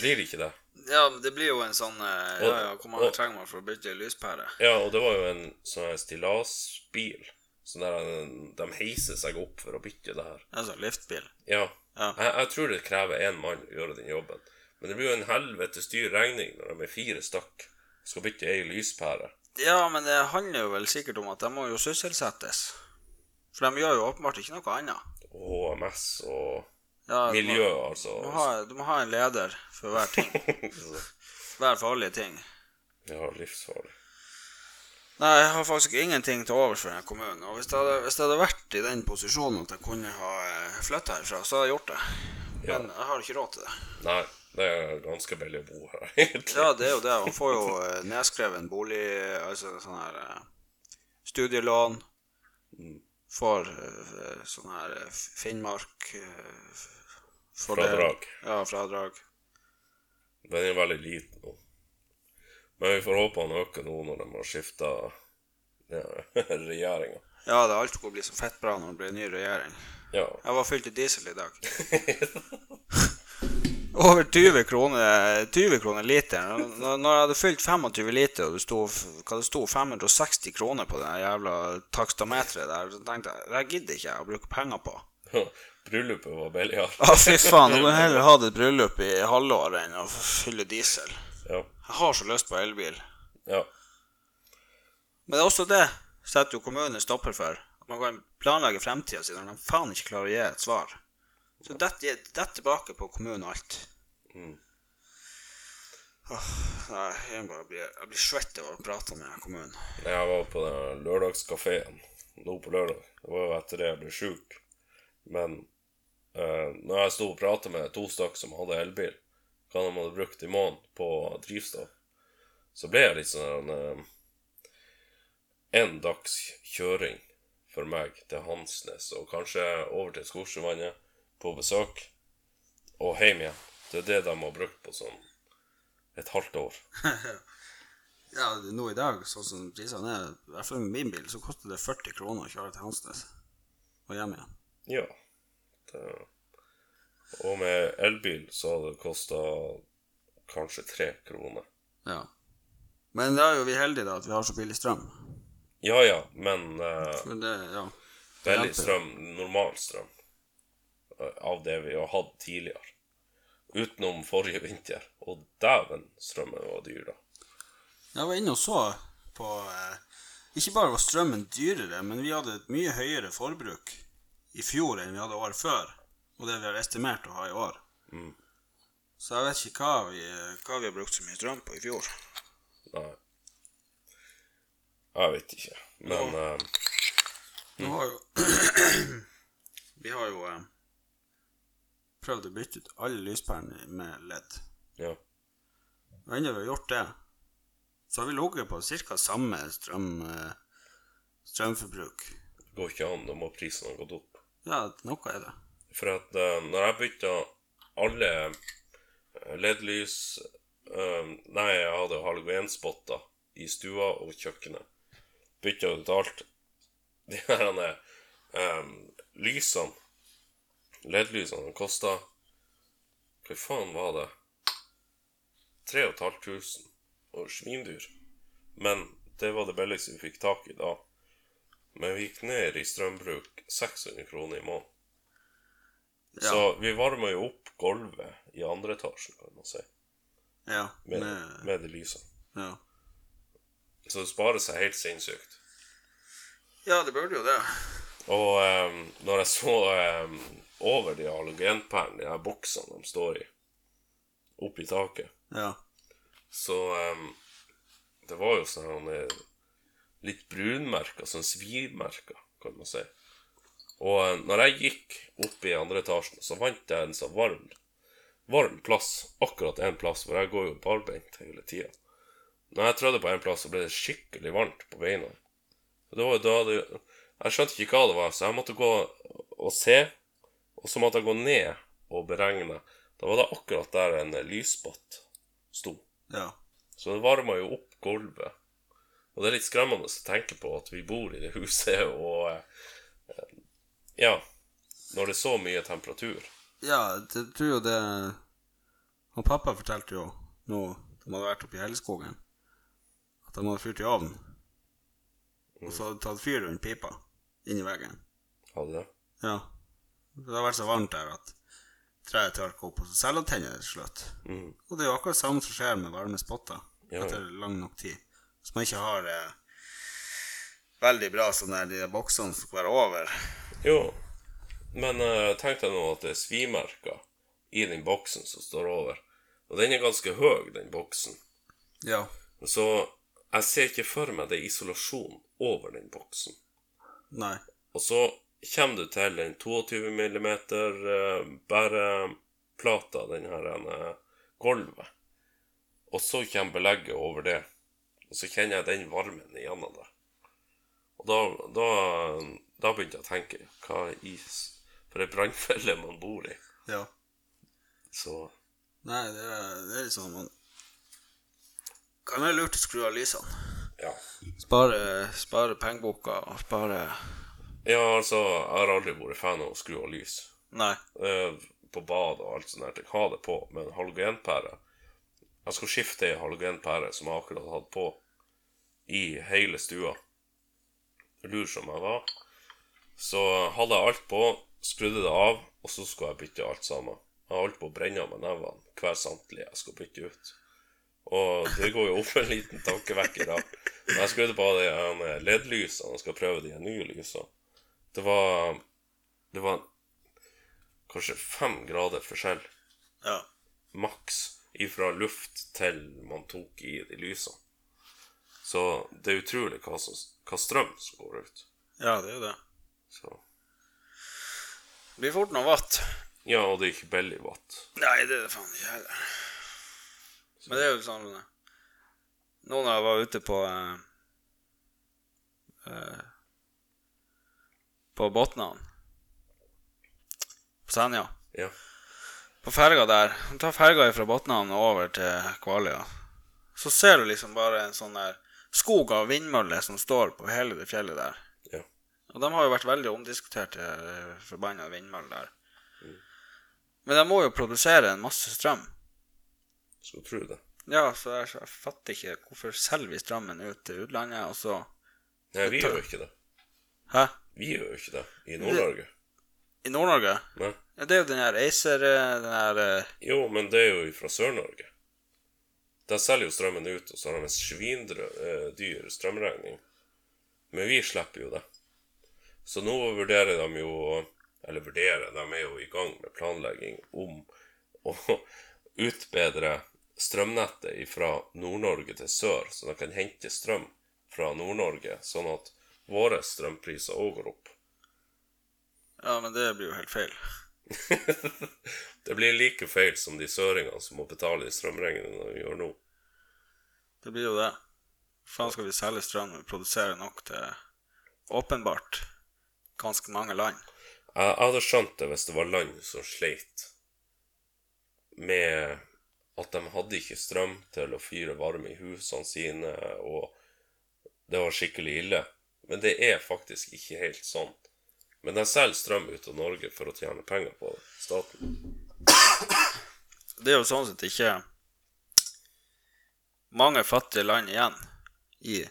Blir det ikke det? Ja, men det blir jo en sånn eh, Og- Ja, ja, hvor mange og- trenger man for å bytte lyspære? Ja, og det var jo en sånn her stillasbil. Sånn der en- de heiser seg opp for å bytte det her. Altså liftbil. Ja. Ja. Jeg, jeg tror det krever én mann å gjøre den jobben. Men det blir jo en helvetes dyr regning når de er fire stykk og skal bytte ei lyspære. Ja, men det handler jo vel sikkert om at de må jo sysselsettes. For de gjør jo åpenbart ikke noe annet. HMS og Ja, du må- Miljø, Du må, altså. ha, du må ha en leder for hver ting. Hver farlige ting. Ja, livsfarlig. Nei, jeg har faktisk ingenting til overs for den kommunen. Og hvis jeg hadde, hvis jeg hadde vært i den posisjonen at jeg kunne ha flytta herfra, så hadde jeg gjort det. Ja. Men jeg har ikke råd til det. Nei, det er ganske billig å bo her, egentlig. Ja, det er jo det. Man får jo eh, nedskrevet en bolig, altså en sånn her eh, studielån. Mm, Får eh, sånn her eh, Finnmark eh, f- fordel. Fradrag. Ja, fradrag. Den er veldig liten nå. Men vi får håpe han øker nå når de har skifta ja, regjeringa. Ja, det er alt som kommer bli så fett bra når det blir ny regjering. Ja. Jeg var fylt i diesel i dag. Over 20 kroner, 20 kroner literen. Når, når jeg hadde fylt 25 liter, og det sto, f- hva det sto 560 kroner på det jævla takstameteret der, så tenkte jeg det her gidder ikke jeg å bruke penger på. Bryllupet var billigere. Ja, fy faen. Jeg må heller ha et bryllup i halvår enn å fylle diesel. Ja. Jeg har så lyst på elbil. ja. Men det er også det setter jo kommunen en stopper for. At man kan planlegge fremtida si når de faen ikke klarer å gi et svar. Så dette det tilbake på kommunen og alt. Mm. Åh, nei, jeg, bare blir, jeg blir svett av å prate med kommunen. Nei, Jeg var på den lørdagskafeen nå på lørdag. Det var jo etter det jeg ble sjuk. Men eh, når jeg sto og pratet med to stykker som hadde elbil, hva de hadde brukt i måneden på drivstoff, så ble jeg litt sånn eh, En dags kjøring for meg til Hansnes, og kanskje over til Skorsøvannet på besøk, og hjem igjen. Det er det de har brukt på sånn et halvt år. Ja, nå i dag, sånn som prisene er, i hvert fall med min bil, så koster det 40 kroner å kjøre til Hansnes og hjem igjen. Ja. Det... Og med elbil så hadde det kosta kanskje tre kroner. Ja. Men da er jo vi heldige, da, at vi har så billig strøm. Ja ja, men eh, Men det, ja. veldig strøm, normal strøm, eh, av det vi har hatt tidligere. Utenom forrige vinter. Og dæven, strømmen var dyr, da. Jeg var inne og så på eh, Ikke bare var strømmen dyrere, men vi hadde et mye høyere forbruk i fjor enn vi hadde året før. og det vi har estimert å ha i år. Så jeg vet ikke hva vi, hva vi har brukt så mye strøm på i fjor. Nei. Jeg vet ikke. Men eh, Nå har jo Vi har jo eh, prøvd å bytte ut alle lyspærene med ledd. ja. Og enda vi har gjort det, så har vi ligget på ca. samme strøm, eh, strømforbruk. Det går ikke an. Da må prisen ha gått opp. Ja, noe er det. For at eh, når jeg bytta alle eh, LED-lys eh, Nei, jeg hadde halogenspotter i stua og kjøkkenet. Bytta ut alt. De her eh, lysene LED-lysene kosta Hva faen var det? 3500 og svindyr. Men det var det billigste vi fikk tak i da. Men vi gikk ned i strømbruk 600 kroner i måneden. Ja. Så vi varmer jo opp gulvet i andre etasjen, kan man si, Ja, med, med, med de lysene. ja. Så det sparer seg helt sinnssykt. ja, det burde jo det. Og ehm, når jeg så ehm, over de halogenpærene, de her boksene de står i, opp i taket, Ja. så ehm, Det var jo sånne eh, litt brunmerker, sånn svimerker, kan man si. Og eh, når jeg gikk opp i andre etasjen, så fant jeg en sånn varm varm plass. Akkurat en plass, for jeg går jo barbeint hele tida. Når jeg trødde på en plass, så ble det skikkelig varmt på beina. Og Det var jo da det, Jeg skjønte ikke hva det var, så jeg måtte gå og se. Og så måtte jeg gå ned og beregne. Da var det akkurat der en lysspott sto. Ja. Så det varmer jo opp gulvet. Og det er litt skremmende å tenke på at vi bor i det huset, og eh, Ja. Når det er så mye temperatur. Ja, jeg tror jo det Han pappa fortalte jo nå de hadde vært oppe i Helleskogen, at de hadde fyrt i ovnen. Og så hadde de tatt fyr rundt pipa inni veggen. Hadde det? Ja. Det har vært så varmt der at treet tørker opp, og så selvtenner det til slutt. Mm. Og det er jo akkurat samme som skjer med varme spotter Ja. etter lang nok tid. Hvis man ikke har eh, veldig bra sånn der de boksene som skal være over Jo. Men eh, tenk deg nå at det er svimerker i den boksen som står over. Og den er ganske høy, den boksen. Ja. Så jeg ser ikke for meg det er isolasjon over den boksen. Nei. Og så kommer du til den 22 mm bæreplata, den her eh, gulvet. Og så kommer belegget over det. Og så kjenner jeg den varmen igjennom det. Og da, da, da begynte jeg å tenke hva is for ei brannfelle man bor i. Ja. Så Nei, det er, det er litt sånn man Kan være lurt å skru av lysene. ja. Spare, spare pengeboka og spare ja, altså, jeg har aldri vært fan av å skru av lys. Nei. eh, på bad og alt sånt der, til å ha det på med en halogenpære. Jeg skal skifte ei halogenpære som jeg akkurat hadde på, i hele stua. Lur som jeg var. Så hadde jeg alt på, skrudde det av, og så skulle jeg bytte alt sammen. Jeg holdt på å brenne av meg nevene hver samtlige jeg skulle bytte ut. Og det går jo opp en liten tankevekker da. Når jeg skrudde på de her LED-lysene og skal prøve de her nye lysene, det var, det var kanskje fem grader forskjell, Ja. maks, ifra luft til man tok i de lysene. Så det er utrolig hva, som, hva strøm som går ut. ja, det er jo det. Så. Det blir fort noe vatt. Ja, og det er ikke billig watt. Nei, det er det faen ikke heller. Men det er jo sånn eh, Nå når jeg var ute på eh, eh, På Botnan På Senja. Ja. På ferga der. Du tar ferga fra Botnan og over til Kvaløya. Så ser du liksom bare en sånn der skog av vindmøller som står på hele det fjellet der. ja. Og de har jo vært veldig omdiskuterte, eh, forbanna vindmøller der. Men de må jo produsere en masse strøm. Skal tro det. Ja, så jeg, jeg fatter ikke hvorfor selger vi strømmen ut til utlandet, og så Nei, vi gjør jo ikke det. Hæ? Vi gjør jo ikke det i Nord-Norge. I Nord-Norge? Nei. Ja, det er jo den her Acer eh, Den her eh, Jo, men det er jo fra Sør-Norge. Der selger jo strømmen ut, og så har de en eh, svindyr strømregning. Men vi slipper jo det. Så nå vurderer de jo Eller vurdere, de er jo i gang med planlegging om å utbedre strømnettet fra Nord-Norge til sør, så de kan hente strøm fra Nord-Norge, sånn at våre strømpriser òg går opp. Ja, men det blir jo helt feil. Det blir like feil som de søringene som må betale de strømregningene de gjør nå. Det blir jo det. Faen skal vi selge strøm når vi produserer nok til åpenbart ganske mange land. Jeg jeg hadde skjønt det hvis det var land som sleit med at de hadde ikke strøm til å fyre varme i husene sine, og det var skikkelig ille. Men det er faktisk ikke helt sånn. Men de selger strøm ut av Norge for å tjene penger på det. Staten. Det er jo sånn sett ikke mange fattige land igjen i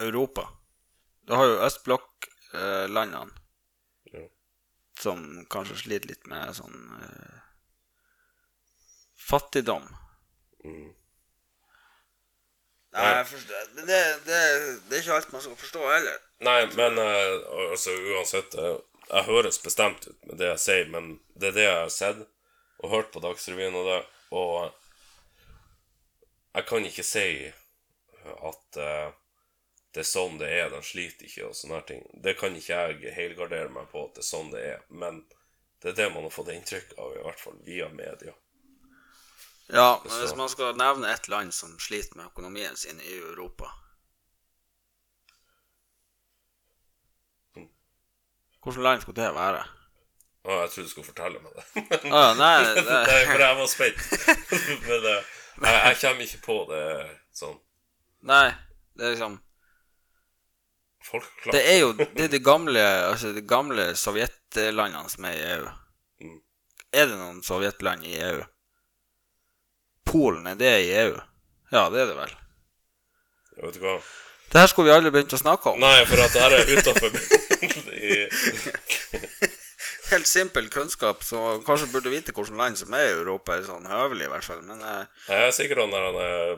Europa. Du har jo østblokklandene Ja. som kanskje sliter litt med sånn eh, fattigdom. Mm. Nei, jeg forstår. Men det, det, det er ikke alt man skal forstå heller. Nei, men eh, altså uansett eh, Jeg høres bestemt ut med det jeg sier, men det er det jeg har sett og hørt på Dagsrevyen og det, og eh, jeg kan ikke si at eh, det er sånn det er, de sliter ikke og sånne her ting. Det kan ikke jeg helgardere meg på at det er sånn det er, men det er det man har fått inntrykk av, i hvert fall via media. Ja, men hvis man skal nevne et land som sliter med økonomien sin i Europa Hvilket land skulle det være? Å, jeg trodde du skulle fortelle meg det. men- Ah, nei, Nei, det, for jeg var spent. men eh, jeg, jeg kommer ikke på det sånn. nei, det er liksom Folk Det klarer er jo det, er de gamle altså de gamle sovjetlandene som er i EU. Mm. Er det noen sovjetland i EU? Polen, er det i EU? Ja, det er det vel. Jeg vet ikke hva. Det her skulle vi aldri begynt å snakke om. Nei, for at det her er utenfor I- helt simpel kunnskap, så kanskje burde vite hvilket land som er i Europa, er sånn høvelig i hvert fall. Men eh, Jeg er sikkert han der han er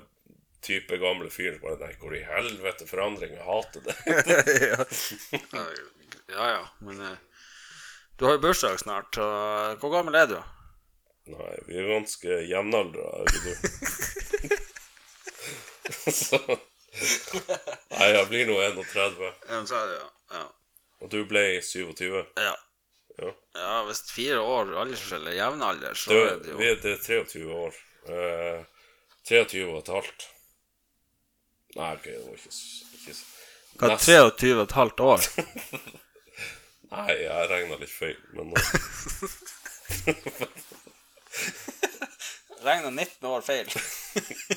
type gamle fyren som bare Nei, hvor i helvete forandring? Jeg hater det. ja. ja ja, men eh, du har jo bursdag snart, så eh, hvor gammel er du? Nei, vi er ganske jevnaldra, er ikke du? Så Nei, jeg blir nå 31, Ja, så er det, ja. og du ble 27. Ja. ja. Ja. Ja, hvis fire år aldersforskjell er jevnalder, så Du, er det jo vi er det er 23 år. Eh, 23 og et halvt. Nei, ok, det var ikke, s- ikke s- Hva, Nest- 23 og et halvt år? Nei, jeg regna litt feil, men eh, Regna 19 år feil.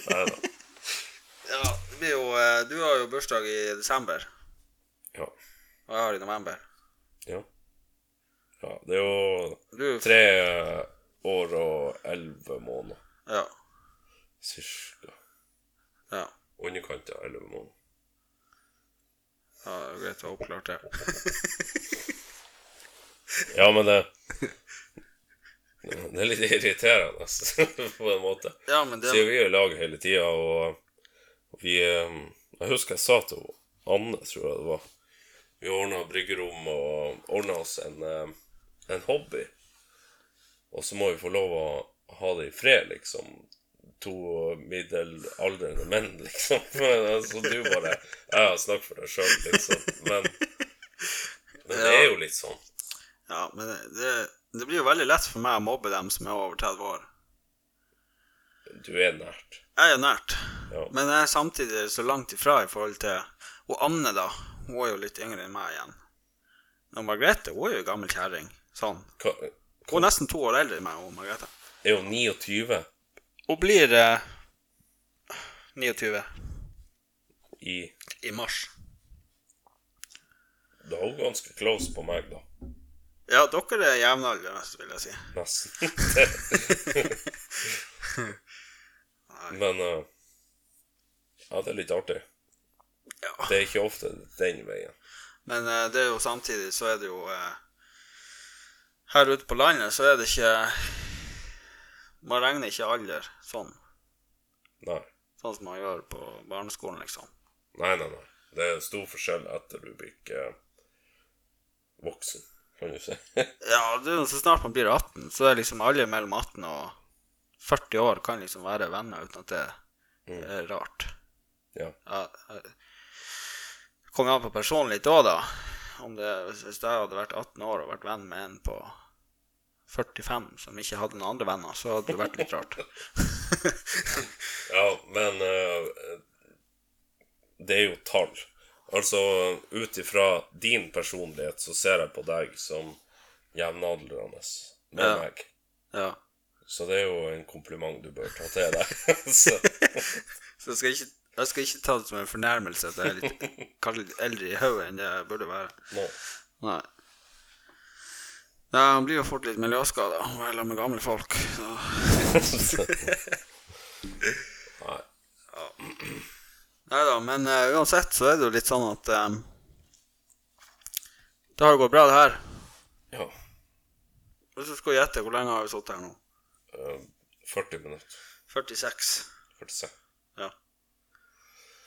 nei da. ja, det blir jo eh, Du har jo bursdag i desember, Ja. og jeg har i november. Ja. ja. Det er jo Du tre år og elleve måneder. Ja. Cirka. Ja. Underkant av elleve måneder. ja det er jo greit å ha oppklart det. Ja, men det Det er litt irriterende, på en måte. Ja, men det Siden vi er i lag hele tida, og vi eh, Jeg husker jeg sa til henne, Anne, tror jeg det var Vi ordna bryggerom og ordna oss en, eh, en hobby. Og så må vi få lov å ha det i fred, liksom. To middelaldrende menn, liksom. Så du bare Ja, snakk for deg sjøl, liksom. Men, men det er jo litt sånn. Ja, men det, det, det blir jo veldig lett for meg å mobbe dem som er over 30 år. Du er nært. Jeg er nært, Ja. men jeg er samtidig så langt ifra i forhold til Og Anne, da. Hun er jo litt yngre enn meg igjen. Men Margrethe hun er jo ei gammel kjerring. Sånn. Hva- Hun er nesten to år eldre enn meg, hun Margrethe. Er jo 29 Hun blir eh, 29 i i mars. Da er hun ganske close på meg, da. Ja, dere er jevnaldrende, vil jeg si. Nesten. Men eh, Ja, det er litt artig. Ja. Det er ikke ofte den veien. Men eh, det er jo samtidig så er det jo eh, Her ute på landet så er det ikke Man regner ikke alder sånn. Nei. Sånn som man gjør på barneskolen, liksom. Nei, nei, nei. Det er stor forskjell etter du blir ikke eh, voksen. kan du si. Ja, det er jo så snart man blir 18, så er liksom alle mellom 18 og 40 år kan liksom være venner uten at det er rart. ja. Ja, eh, kommer jo an på personen litt òg, da. Om det, hvis hvis jeg hadde vært 18 år og vært venn med en på 45 som ikke hadde noen andre venner, så hadde det vært litt rart. ja, men eh, det er jo tall. Altså, ut ifra din personlighet så ser jeg på deg som jevnaldrende med Ja. meg. Ja. Så det er jo en kompliment du bør ta til deg. så, Så jeg skal ikke, jeg skal ikke ta det som en fornærmelse at jeg er litt, kanskje litt eldre i hodet enn det jeg burde være. nå. Nei. Nei, han blir jo fort litt miljøskada og er sammen med gamle folk. Så. Nei. Nei da, men eh, uansett så er det jo litt sånn at eh, Det har jo gått bra, det her. Ja. Hvis du skulle gjette, hvor lenge har vi sittet her nå? eh, 40 minutter. 46. 46. Ja.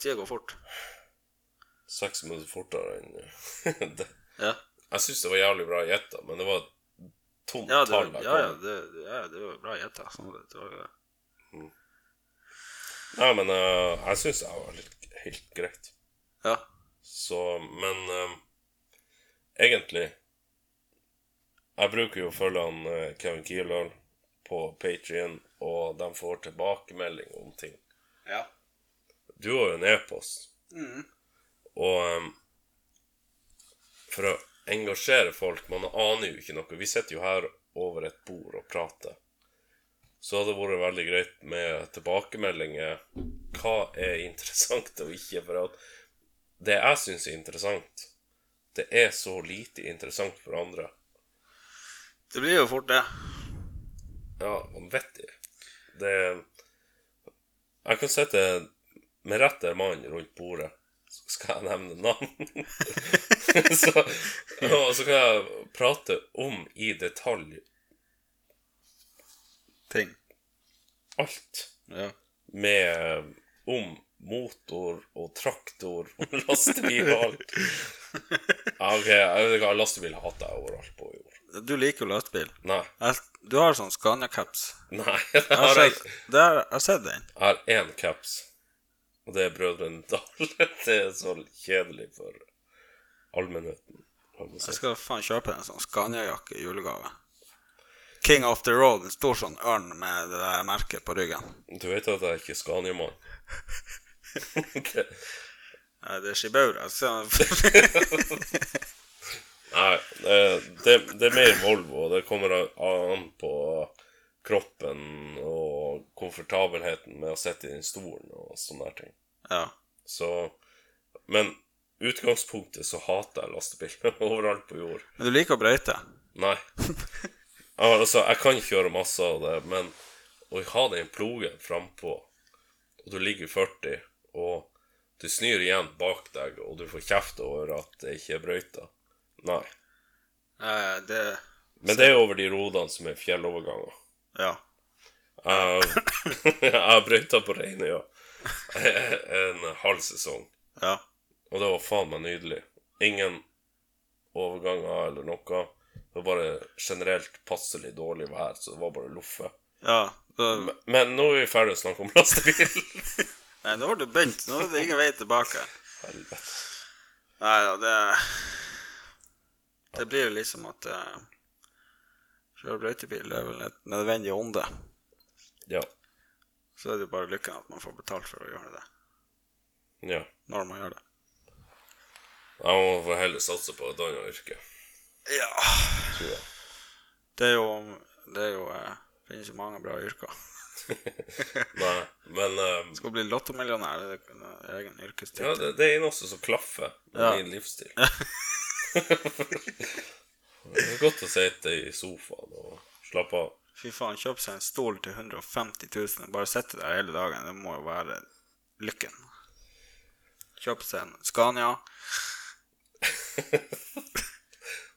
Tida går fort. 6 minutter fortere enn eh, det. Ja, Jeg syns det var jævlig bra gjetta, men det var et tomt ja det, tall. jeg ja, ja, kom. det, det- ja, det var bra gjetta. Sånn, det var jo det. Nei, men eh, jeg syns jeg var litt, helt greit. ja. Så, men eh, egentlig Jeg bruker jo å følge han eh, Kevin Kielhall på Patrion, og de får tilbakemelding om ting. ja. Du har jo en e-post, og eh, for å engasjere folk Man aner jo ikke noe. Vi sitter jo her over et bord og prater. Så hadde det vært veldig greit med tilbakemeldinger. Hva er interessant og ikke? For at det jeg syns er interessant, det er så lite interessant for andre. Det blir jo fort det. Ja, vanvittig. Det Jeg kan sitte med rette mann rundt bordet, så skal jeg nevne navn. så, og så kan jeg prate om i detalj Ting. alt. Ja. med om motor og traktor og lastebil og alt. Ja, ok, jeg vet ikke, hva, lastebil hater jeg overalt på jord. Du liker jo lastebil. Nei, Jeg, du har sånn Scania-caps. nei, jeg Jeg har har, sett, ikke- det har, jeg har sett den. jeg har én caps, og det er Brødrene Dal. Det er så kjedelig for allmennheten. kan man si. Jeg skal faen kjøpe en sånn Scania-jakke i julegave. King of the Road, en stor sånn ørn med det der merket på ryggen. Du vet at jeg er ikke Scania-mann? Det- Nei, det er Shibaura. Så Nei, det, det, det er mer Volvo, og det kommer an på kroppen og komfortabelheten med å sitte i den stolen og sånne her ting. ja. Så, men utgangspunktet så hater jeg lastebil overalt på jord. Men du liker å brøyte? Nei. Altså, jeg kan kjøre masse av det, men å ha den plogen frampå, og du ligger i 40, og det snur igjen bak deg, og du får kjeft over at det ikke er brøyta Nei. Eh, det Men det er over de rodene som er fjelloverganger. Ja. Jeg jeg har brøyta på Reinøya en halv sesong, Ja. og det var faen meg nydelig. Ingen overganger eller noe. Det var bare generelt passelig dårlig vær, så det var bare loffe. ja. Da, Men- Men nå er vi ferdig å snakke om lastebil. nei, nå har du begynt. Nå er det ingen vei tilbake. Helvete. Nei da, det Det blir jo liksom at eh, Kjøre brøytebil er vel et nødvendig onde. Ja. Så er det jo bare lykken at man får betalt for å gjøre det. ja. Når man gjør det. Jeg må få heller satse på et annet yrke, Ja. tror jeg. Det er jo Det er jo eh, finnes jo mange bra yrker. Nei, men eh, Skal bli lottomillionær, det er en egen yrkestittel. Ja, det, det er eneste som klaffer med Ja. min livsstil. det er godt å sitte i sofaen og slappe av. Fy faen, kjøp seg en stol til 150 000 og bare sitte der hele dagen. Det må jo være lykken. Kjøp seg en Scania.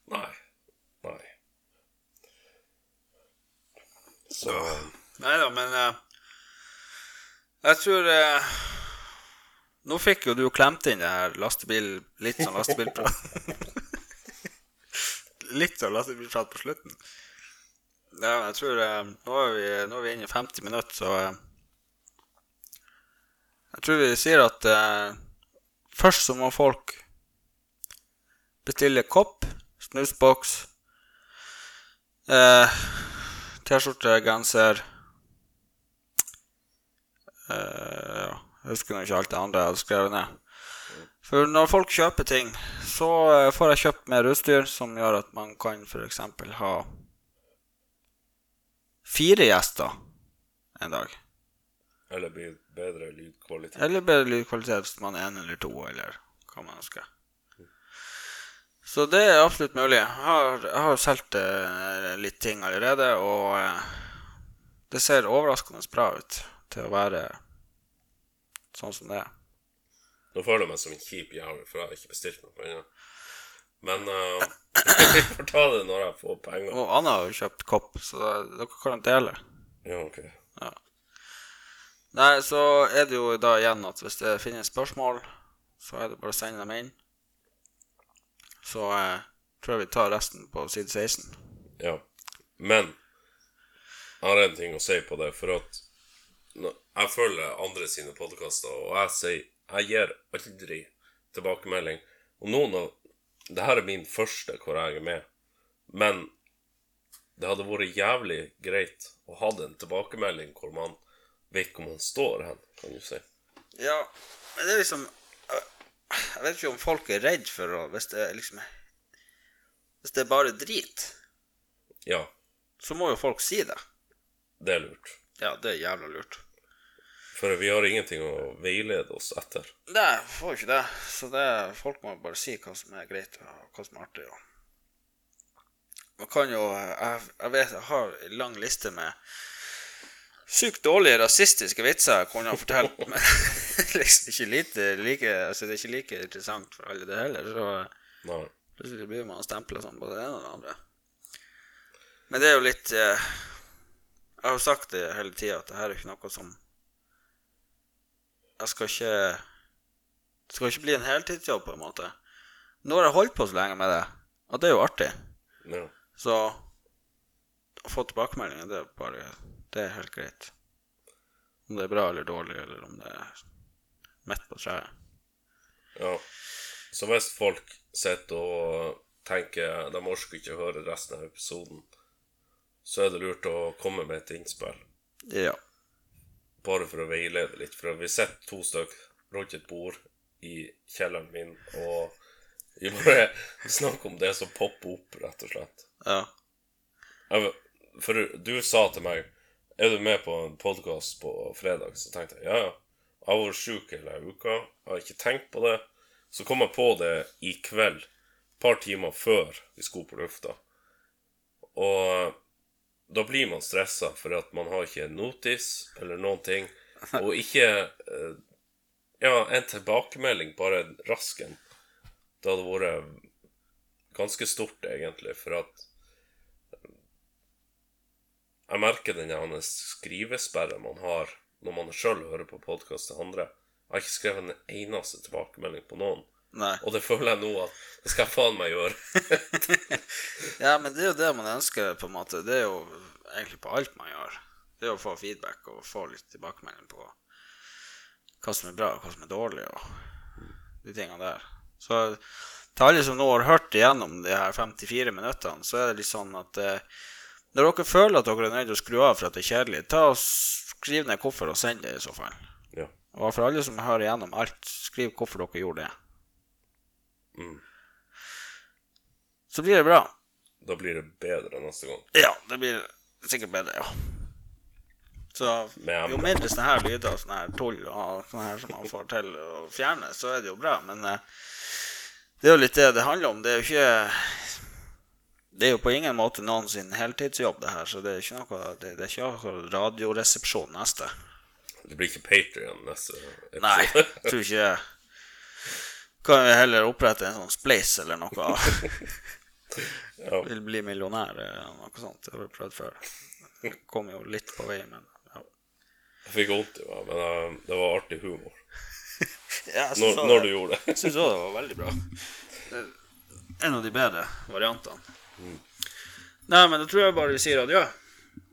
Nei. Nei. Så Nei da, men eh, Jeg tror eh, Nå fikk jo du klemt inn det her lastebil Litt sånn lastebilprat. litt sånn lastebilprat på slutten. Ja, men jeg tror eh, nå, er vi, nå er vi inne i 50 minutter, så eh, Jeg tror vi sier at eh, først så må folk bestille kopp, snusboks, eh, T-skjorte, genser eh, ja, Jeg husker nå ikke alt det andre jeg hadde skrevet ned. For når folk kjøper ting, så eh, får jeg kjøpt mer utstyr som gjør at man kan f.eks. ha fire gjester en dag. Eller blir bedre lydkvalitet. Eller bedre lydkvalitet hvis man er en eller to, eller hva man ønsker. Så det er absolutt mulig. Jeg har, jeg har solgt eh, litt ting allerede, og eh, det ser overraskende bra ut til å være sånn som det er. Nå føler jeg meg som en kjip jævel, for jeg har ikke bestilt noe ennå. Men eh, vi får ta det når jeg får penger. Og Anna har jo kjøpt kopp, så dere kan dele. Ja, ok. Nei, så er det jo da igjen at hvis det finnes spørsmål, så er det bare å sende dem inn. Så eh, tror jeg vi tar resten på side 16. Ja. Men jeg har en ting å si på det, for at nå- jeg følger andre sine podkaster, og jeg sier Jeg gir aldri tilbakemelding. Og nå når Det her er min første hvor jeg er med, men det hadde vært jævlig greit å ha en tilbakemelding hvor man vet hvor man står hen, kan du si. Ja, men det er liksom øh, Jeg vet ikke om folk er redd for å Hvis det er liksom Hvis det er bare drit, Ja, så må jo folk si det. det er lurt. Ja, det er jævla lurt. For vi har ingenting å veilede oss etter. Nei, får jo ikke det. Så det, folk må bare si hva som er greit, og hva som er artig. Og. Man kan jo jeg, jeg vet jeg har en lang liste med sykt dårlige rasistiske vitser jeg kunne ha fortalt, men liksom ikke lite like Altså, det er ikke like interessant for alle, det heller, så Nei. Plutselig blir man stempla som både det ene og det andre. Men det er jo litt eh, Jeg har jo sagt det hele tida, at det her er ikke noe som Jeg skal ikke Det skal ikke bli en heltidsjobb, på en måte. Nå har jeg holdt på så lenge med det, og det er jo artig. Ja. Så å få tilbakemeldinger, det er bare Det er helt greit. Om det er bra eller dårlig, eller om det er midt på treet. ja. Så hvis folk sitter og tenker de orker ikke å høre resten av episoden, så er det lurt å komme med et innspill. Ja. Bare for å veilede litt. For vi sitter to stykker rundt et bord i kjelleren min, og vi bare snakker om det som popper opp, rett og slett. ja. Jeg vet- For du sa til meg Er du med på en podkast på fredag? Så tenkte jeg ja, ja. Jeg har vært sjuk hele uka. Jeg har ikke tenkt på det. Så kom jeg på det i kveld, et par timer før vi skulle på lufta. Og da blir man stressa, for at man har ikke notis eller noen ting. Og ikke eh, Ja, en tilbakemelding, bare rask en. Det hadde vært ganske stort, egentlig, for at jeg merker den gjerne skrivesperre man har når man sjøl hører på podkast til andre. Jeg har ikke skrevet en eneste tilbakemelding på noen. Nei. Og det føler jeg nå at det skal jeg faen meg gjøre. Ja, men det er jo det man ønsker, på en måte. Det er jo egentlig på alt man gjør. Det er å få feedback og få litt tilbakemelding på hva som er bra, og hva som er dårlig, og de tingene der. Så til alle som nå har hørt igjennom de her 54 minuttene, så er det litt sånn at eh, når dere føler at dere er nødt til å skru av for at det er kjedelig, ta og skriv ned hvorfor og send det i så fall. Ja. Og for alle som hører igjennom alt, skriv hvorfor dere gjorde det. Mm. Så blir det bra. Da blir det bedre neste gang. Ja, det blir sikkert bedre, ja. Så Men- jo mindre sånne her lyder og sånne her tull og sånne her som man får til å fjerne, så er det jo bra. Men eh, det er jo litt det det handler om. Det er jo ikke Det er jo på ingen måte noen sin heltidsjobb, det her, så det er ikke noe Det, det er ikke noe radioresepsjon neste. Det blir ikke Patrion neste episode. Nei, jeg tror ikke det. Kan vi heller opprette en sånn spleis eller noe? Ja. Vil bli millionær eh, eller noe sånt. Det har vi prøvd før. Kom jo litt på vei, men ja. Jeg fikk vondt i meg, men eh, det var artig humor Ja, jeg synes når, også når du det. gjorde det. Jeg syns òg det var veldig bra. Det er En av de bedre variantene. Nei, men da tror jeg bare vi sier adjø.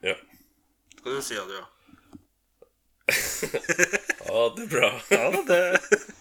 Ja. Skal du si adjø? ja, det er bra. Ha det.